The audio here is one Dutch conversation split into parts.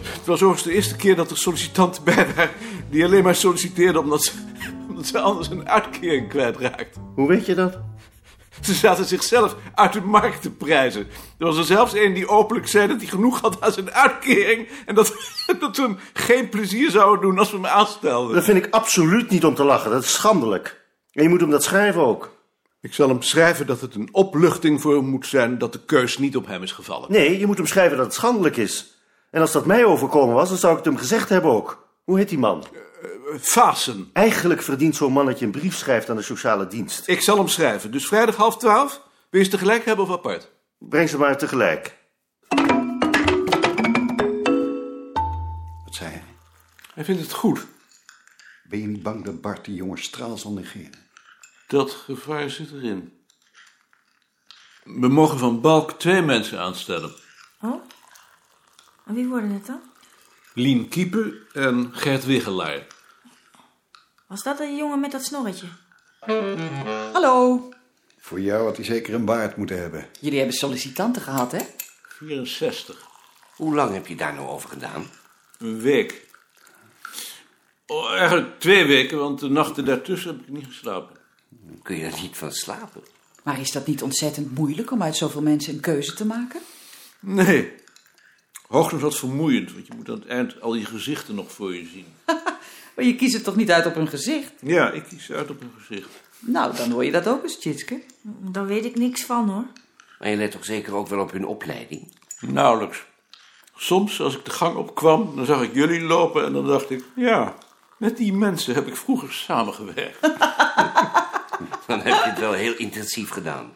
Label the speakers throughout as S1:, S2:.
S1: Het was overigens de eerste keer dat er sollicitanten bij waren... die alleen maar solliciteerden omdat ze, omdat ze anders een uitkering kwijtraakten.
S2: Hoe weet je dat?
S1: Ze zaten zichzelf uit de markt te prijzen. Er was er zelfs een die openlijk zei dat hij genoeg had aan zijn uitkering... en dat, dat we hem geen plezier zouden doen als we hem aanstelden.
S2: Dat vind ik absoluut niet om te lachen. Dat is schandelijk. En je moet hem dat schrijven ook.
S1: Ik zal hem schrijven dat het een opluchting voor hem moet zijn... dat de keus niet op hem is gevallen.
S2: Nee, je moet hem schrijven dat het schandelijk is. En als dat mij overkomen was, dan zou ik het hem gezegd hebben ook. Hoe heet die man?
S1: Fasen.
S2: Eigenlijk verdient zo'n man dat je een brief schrijft aan de sociale dienst.
S1: Ik zal hem schrijven. Dus vrijdag half twaalf? Wil je ze tegelijk hebben of apart?
S2: Breng ze maar tegelijk.
S3: Wat zei hij?
S1: Hij vindt het goed.
S3: Ben je niet bang dat Bart die jongen straal zal negeren?
S1: Dat gevaar zit erin. We mogen van Balk twee mensen aanstellen.
S4: Oh? En wie worden het dan?
S1: Lien Kiepen en Gert Wiggelaar.
S4: Was dat de jongen met dat snorretje?
S5: Hallo.
S3: Voor jou had hij zeker een baard moeten hebben.
S5: Jullie hebben sollicitanten gehad, hè?
S1: 64.
S6: Hoe lang heb je daar nou over gedaan?
S1: Een week. Oh, eigenlijk twee weken, want de nachten daartussen heb ik niet geslapen.
S6: Kun je er niet van slapen?
S5: Maar is dat niet ontzettend moeilijk om uit zoveel mensen een keuze te maken?
S1: Nee. Hoogstens wat vermoeiend, want je moet aan het eind al die gezichten nog voor je zien.
S5: Maar je kiest het toch niet uit op hun gezicht?
S1: Ja, ik kies uit op een gezicht.
S5: Nou, dan hoor je dat ook eens, Tjitske.
S4: Daar weet ik niks van hoor.
S6: Maar je let toch zeker ook wel op hun opleiding?
S1: Nauwelijks. Soms, als ik de gang opkwam, dan zag ik jullie lopen en dan dacht ik... Ja, met die mensen heb ik vroeger samengewerkt.
S6: Dan heb je het wel heel intensief gedaan.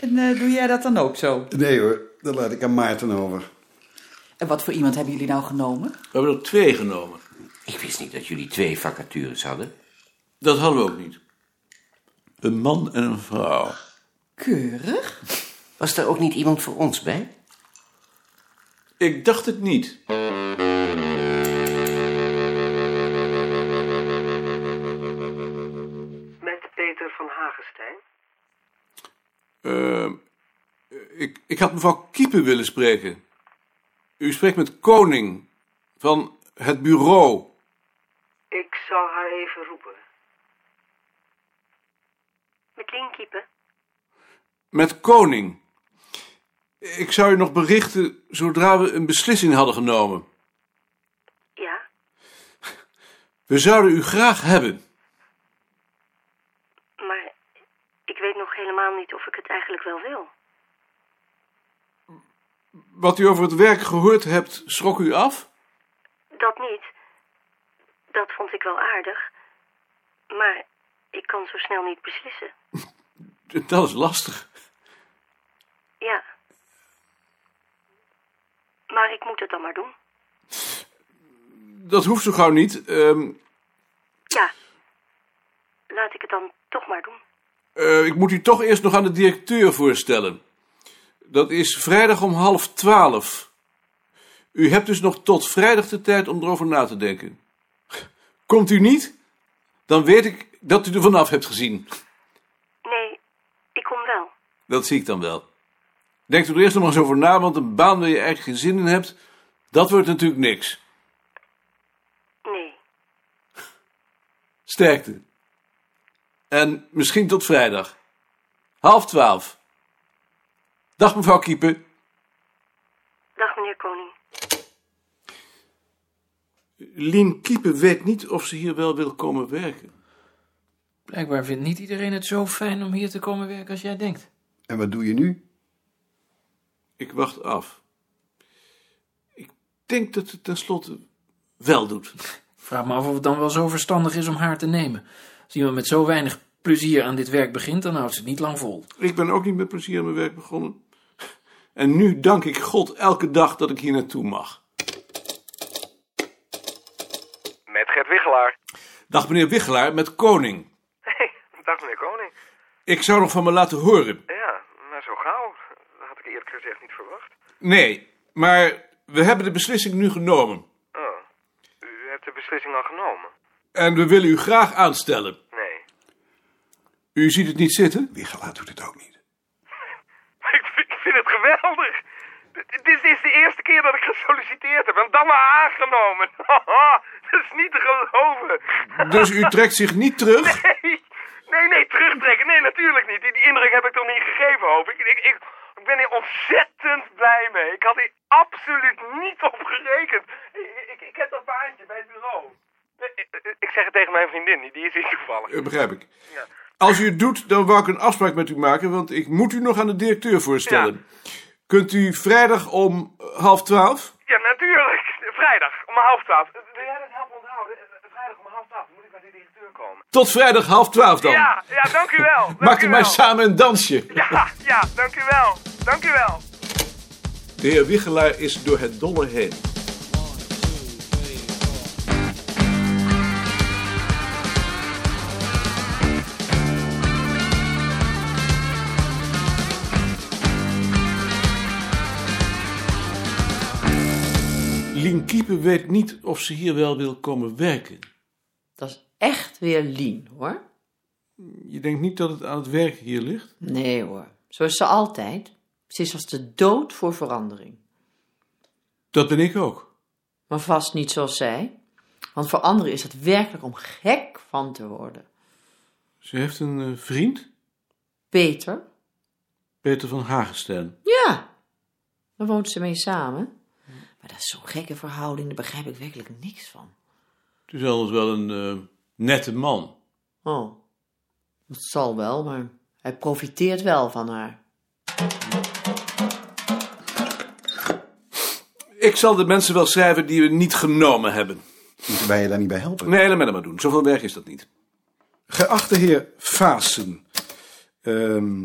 S5: En eh, doe jij dat dan ook zo?
S3: Nee hoor, dat laat ik aan Maarten over.
S5: En wat voor iemand hebben jullie nou genomen?
S1: We hebben er twee genomen.
S6: Ik wist niet dat jullie twee vacatures hadden.
S1: Dat hadden we ook niet. Een man en een vrouw.
S5: Keurig.
S6: Was daar ook niet iemand voor ons bij?
S1: Ik dacht het niet.
S7: Met Peter van Hagestein.
S1: Eh, ik, ik had mevrouw Kiepen willen spreken. U spreekt met Koning van het bureau.
S7: Ik zal haar even roepen. Met Lien Kiepen?
S1: Met Koning. Ik zou u nog berichten zodra we een beslissing hadden genomen.
S7: Ja.
S1: We zouden u graag hebben.
S7: Maar ik weet nog helemaal niet of ik het eigenlijk wel wil.
S1: Wat u over het werk gehoord hebt, schrok u af?
S7: Dat niet. Dat vond ik wel aardig. Maar ik kan zo snel niet beslissen.
S1: Dat is lastig.
S7: Ja. Maar ik moet het dan maar doen.
S1: Dat hoeft zo gauw niet. Ehm,
S7: Ja. Laat ik het dan toch maar doen.
S1: eh, ik moet u toch eerst nog aan de directeur voorstellen. Dat is vrijdag om half twaalf. U hebt dus nog tot vrijdag de tijd om erover na te denken. Komt u niet? Dan weet ik dat u er vanaf hebt gezien.
S7: Nee, ik kom wel.
S1: Dat zie ik dan wel. Denk er eerst nog maar eens over na, want een baan waar je eigenlijk geen zin in hebt, dat wordt natuurlijk niks.
S7: Nee.
S1: Sterkte. En misschien tot vrijdag. Half twaalf. Dag mevrouw Kiepen.
S7: Dag meneer Koning.
S1: Lien Kiepen weet niet of ze hier wel wil komen werken.
S8: Blijkbaar vindt niet iedereen het zo fijn om hier te komen werken als jij denkt.
S3: En wat doe je nu?
S1: Ik wacht af. Ik denk dat ze het tenslotte wel doet.
S8: Ik vraag me af of het dan wel zo verstandig is om haar te nemen. Als iemand met zo weinig plezier aan dit werk begint, dan houdt ze het niet lang vol.
S1: Ik ben ook niet met plezier aan mijn werk begonnen. En nu dank ik God elke dag dat ik hier naartoe mag.
S9: Met Gert Wichelaar.
S1: Dag meneer Wichelaar, met Koning.
S9: Hey, dag meneer Koning.
S1: Ik zou nog van me laten horen.
S9: Ja, maar zo gauw. Dat had ik eerlijk gezegd niet verwacht.
S1: Nee, maar we hebben de beslissing nu genomen.
S9: Oh, u hebt de beslissing al genomen?
S1: En we willen u graag aanstellen.
S9: Nee.
S1: U ziet het niet zitten?
S3: Wiegelaar doet het ook niet.
S9: Ik, vind- ik vind het geweldig. D- Dit is de eerste keer dat ik gesolliciteerd heb en dan maar aangenomen. Ah, dat is niet te geloven.
S1: Dus u trekt zich niet terug?
S9: Nee, nee, terugtrekken. Nee, natuurlijk niet. Die, die indruk heb ik toch niet gegeven, hoop ik. Ik, ik, ik ben hier ontzettend blij mee. Ik had hier absoluut niet op gerekend. Ik, ik, ik heb dat baantje bij het bureau. Ik, ik- ik zeg het tegen mijn vriendin, die- die is hier toevallig.
S1: Eh, begrijp ik. Als u het doet, dan wou ik een afspraak met u maken, want ik moet u nog aan de directeur voorstellen. Kunt u vrijdag om eh, half twaalf?
S9: Ja, natuurlijk. Vrijdag om half twaalf. Eh, Wil jij dat helpen onthouden? Eh, Vrijdag om half twaalf moet ik bij de directeur komen.
S1: Tot vrijdag half twaalf dan.
S9: Ja, ja, dank u wel. Dank
S1: Maakt u
S9: u
S1: mij
S9: wel.
S1: samen een dansje.
S9: Ja, ja, dank u wel. Dank u wel.
S1: De heer Wiegelaar is door het dolle heen. Lien Kiepen weet niet of ze hier wel wil komen werken.
S10: Dat is echt weer Lien, hoor.
S1: Je denkt niet dat het aan het werk hier ligt?
S10: Nee, hoor. Zo is ze altijd. Ze is als de dood voor verandering.
S1: Dat ben ik ook.
S10: Maar vast niet zoals zij. Want voor anderen is het werkelijk om gek van te worden.
S1: Ze heeft een eh, vriend,
S10: Peter?
S1: Peter van Hagenstein.
S10: Ja. Daar woont ze mee samen. Maar dat is zo'n gekke verhouding, daar begrijp ik werkelijk niks van.
S1: Het is anders wel een eh, nette man.
S10: Oh, dat zal wel, maar hij profiteert wel van haar.
S1: Ik zal de mensen wel schrijven die we niet genomen hebben.
S3: Moeten wij je daar niet bij helpen?
S1: Nee, laat mij dat maar doen. Zoveel werk is dat niet.
S11: Geachte heer Vaassen, ehm,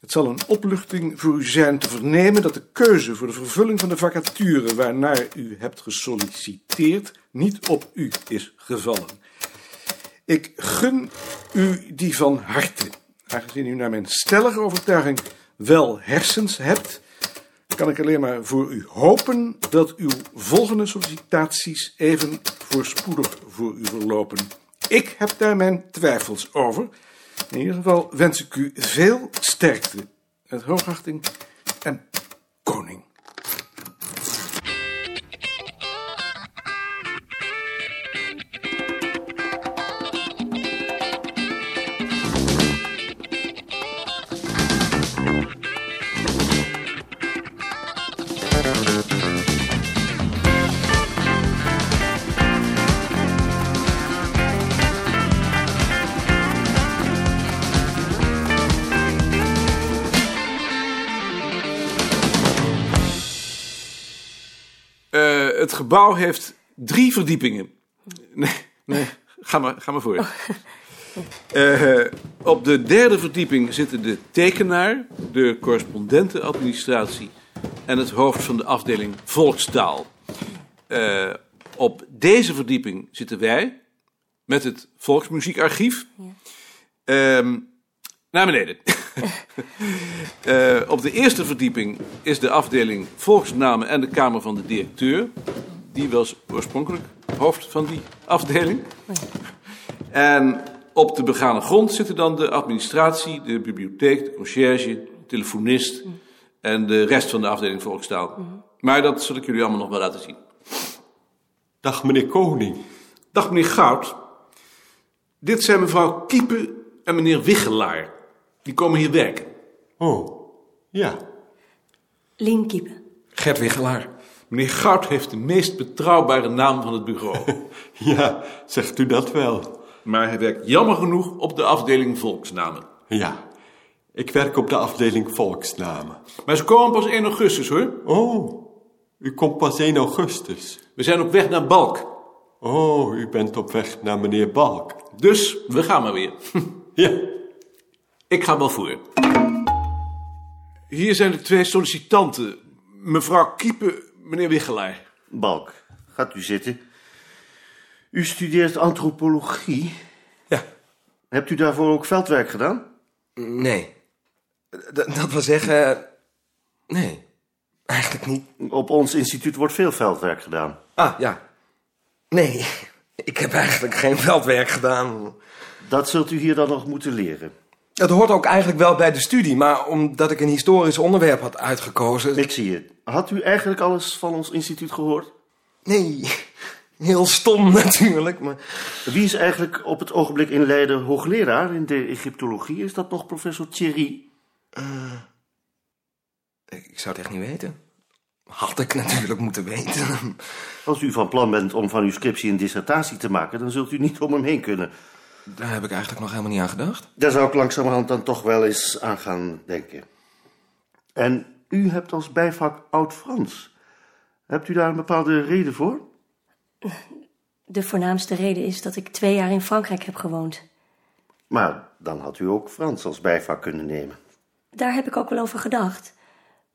S11: het zal een opluchting voor u zijn te vernemen dat de keuze voor de vervulling van de vacature waarnaar u hebt gesolliciteerd niet op u is gevallen. Ik gun u die van harte. Aangezien u naar mijn stellige overtuiging wel hersens hebt, kan ik alleen maar voor u hopen dat uw volgende sollicitaties even voorspoedig voor u verlopen. Ik heb daar mijn twijfels over. In ieder geval wens ik u veel sterkte. Met hoogachting en koning.
S1: Eh, het gebouw heeft drie verdiepingen. Nee, nee. Ga maar, ga maar voor. Eh, op de derde verdieping zitten de tekenaar, de correspondentenadministratie en het hoofd van de afdeling volkstaal. Eh, op deze verdieping zitten wij met het volksmuziekarchief. Ehm, naar beneden. Eh, op de eerste verdieping is de afdeling volksnamen en de kamer van de directeur. Die was oorspronkelijk hoofd van die afdeling. En op de begane grond zitten dan de administratie, de bibliotheek, de conciërge, de telefonist en de rest van de afdeling volkstaal. Maar dat zal ik jullie allemaal nog wel laten zien.
S12: Dag meneer Koning.
S1: Dag meneer Goud. Dit zijn mevrouw Kiepen en meneer Wichelaar. Die komen hier werken.
S12: Oh, ja.
S7: Lien Kiepen.
S1: Gert Wichelaar. Meneer Goud heeft de meest betrouwbare naam van het bureau.
S12: Ja, zegt u dat wel?
S1: maar hij werkt jammer genoeg op de afdeling volksnamen.
S12: Ja. Ik werk op de afdeling volksnamen.
S1: Maar ze komen pas 1 augustus hoor.
S12: Oh, u komt pas 1 augustus.
S1: We zijn op weg naar Balk.
S12: Oh, u bent op weg naar meneer Balk.
S1: Dus we gaan maar weer.
S12: Ja,
S1: Ik ga wel voor. Hier zijn de twee sollicitanten. Mevrouw Kiepen, meneer Wichelaar.
S2: Balk, gaat u zitten. U studeert antropologie.
S6: Ja.
S2: Hebt u daarvoor ook veldwerk gedaan?
S6: Nee. D- dat wil zeggen... Nee. Eigenlijk niet.
S2: Op ons instituut wordt veel veldwerk gedaan.
S6: Ah, ja. Nee. Ik heb eigenlijk geen veldwerk gedaan.
S2: Dat zult u hier dan nog moeten leren.
S13: Dat hoort ook eigenlijk wel bij de studie, maar omdat ik een historisch onderwerp had uitgekozen...
S2: Ik zie het. Had u eigenlijk alles van ons instituut gehoord?
S13: Nee, heel stom natuurlijk, maar...
S2: Wie is eigenlijk op het ogenblik in Leiden hoogleraar in de Egyptologie? Is dat nog professor Thierry?
S13: Eh, ik zou het echt niet weten. Had ik natuurlijk moeten weten.
S2: Als u van plan bent om van uw scriptie een dissertatie te maken, dan zult u niet om hem heen kunnen.
S13: Daar heb ik eigenlijk nog helemaal niet aan gedacht.
S2: Daar zou ik langzamerhand dan toch wel eens aan gaan denken. En u hebt als bijvak Oud-Frans. Hebt u daar een bepaalde reden voor?
S7: De voornaamste reden is dat ik twee jaar in Frankrijk heb gewoond.
S2: Maar dan had u ook Frans als bijvak kunnen nemen.
S7: Daar heb ik ook wel over gedacht.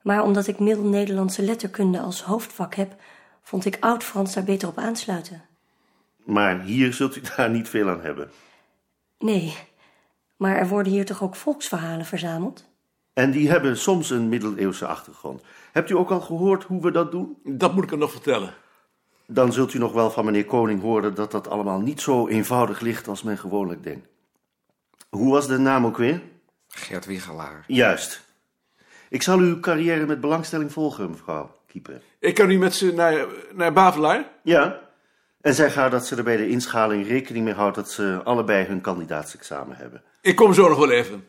S7: Maar omdat ik Middel-Nederlandse letterkunde als hoofdvak heb, vond ik Oud-Frans daar beter op aansluiten.
S2: Maar hier zult u daar niet veel aan hebben.
S7: Nee, maar er worden hier toch ook volksverhalen verzameld?
S2: En die hebben soms een middeleeuwse achtergrond. Hebt u ook al gehoord hoe we dat doen?
S1: Dat moet ik hem nog vertellen.
S2: Dan zult u nog wel van meneer Koning horen dat dat allemaal niet zo eenvoudig ligt als men gewoonlijk denkt. Hoe was de naam ook weer?
S13: Gert Wiegelaar.
S2: Juist. Ik zal uw carrière met belangstelling volgen, mevrouw Kieper.
S1: Ik kan nu met ze naar, naar Bavelaar.
S2: Ja. En zij gaat dat ze er bij de inschaling rekening mee houdt dat ze allebei hun kandidaatsexamen hebben.
S1: Ik kom zo nog wel even.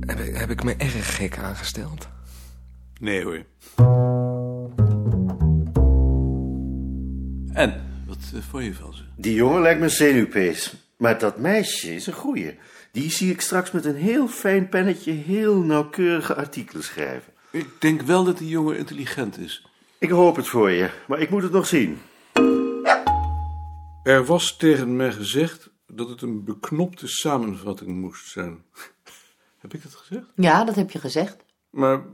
S13: Heb, ik- heb ik me erg gek aangesteld.
S1: Nee hoor. En, wat eh, vond je van ze?
S2: Die jongen lijkt me een zenuwpees. Maar dat meisje is een goeie. Die zie ik straks met een heel fijn pennetje heel nauwkeurige artikelen schrijven.
S1: Ik denk wel dat die jongen intelligent is.
S2: Ik hoop het voor je, maar ik moet het nog zien.
S1: Er was tegen mij gezegd dat het een beknopte samenvatting moest zijn. Heb ik dat gezegd?
S10: Ja, dat heb je gezegd.
S1: Maar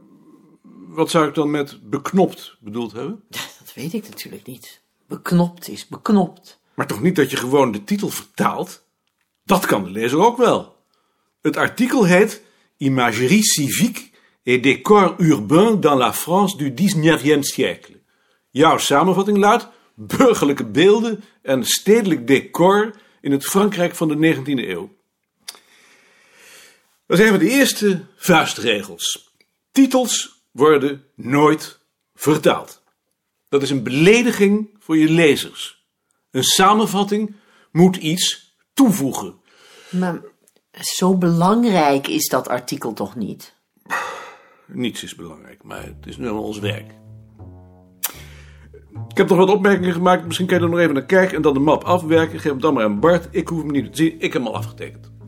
S1: wat zou ik dan met beknopt bedoeld hebben?
S10: Dat weet ik natuurlijk niet. Beknopt is beknopt.
S1: Maar toch niet dat je gewoon de titel vertaalt? Dat kan de lezer ook wel. Het artikel heet Imagerie civique et décor urbain dans la France du 19e siècle. Jouw samenvatting luidt burgerlijke beelden en stedelijk decor in het Frankrijk van de 19e eeuw. Dat zijn we de eerste vuistregels. Titels worden nooit vertaald. Dat is een belediging voor je lezers. Een samenvatting moet iets toevoegen.
S10: Maar zo belangrijk is dat artikel toch niet?
S1: Niets is belangrijk, maar het is nu helemaal ons werk. Ik heb nog wat opmerkingen gemaakt. Misschien kan je er nog even naar kijken en dan de map afwerken. Geef hem dan maar aan Bart. Ik hoef hem niet te zien. Ik heb hem al afgetekend.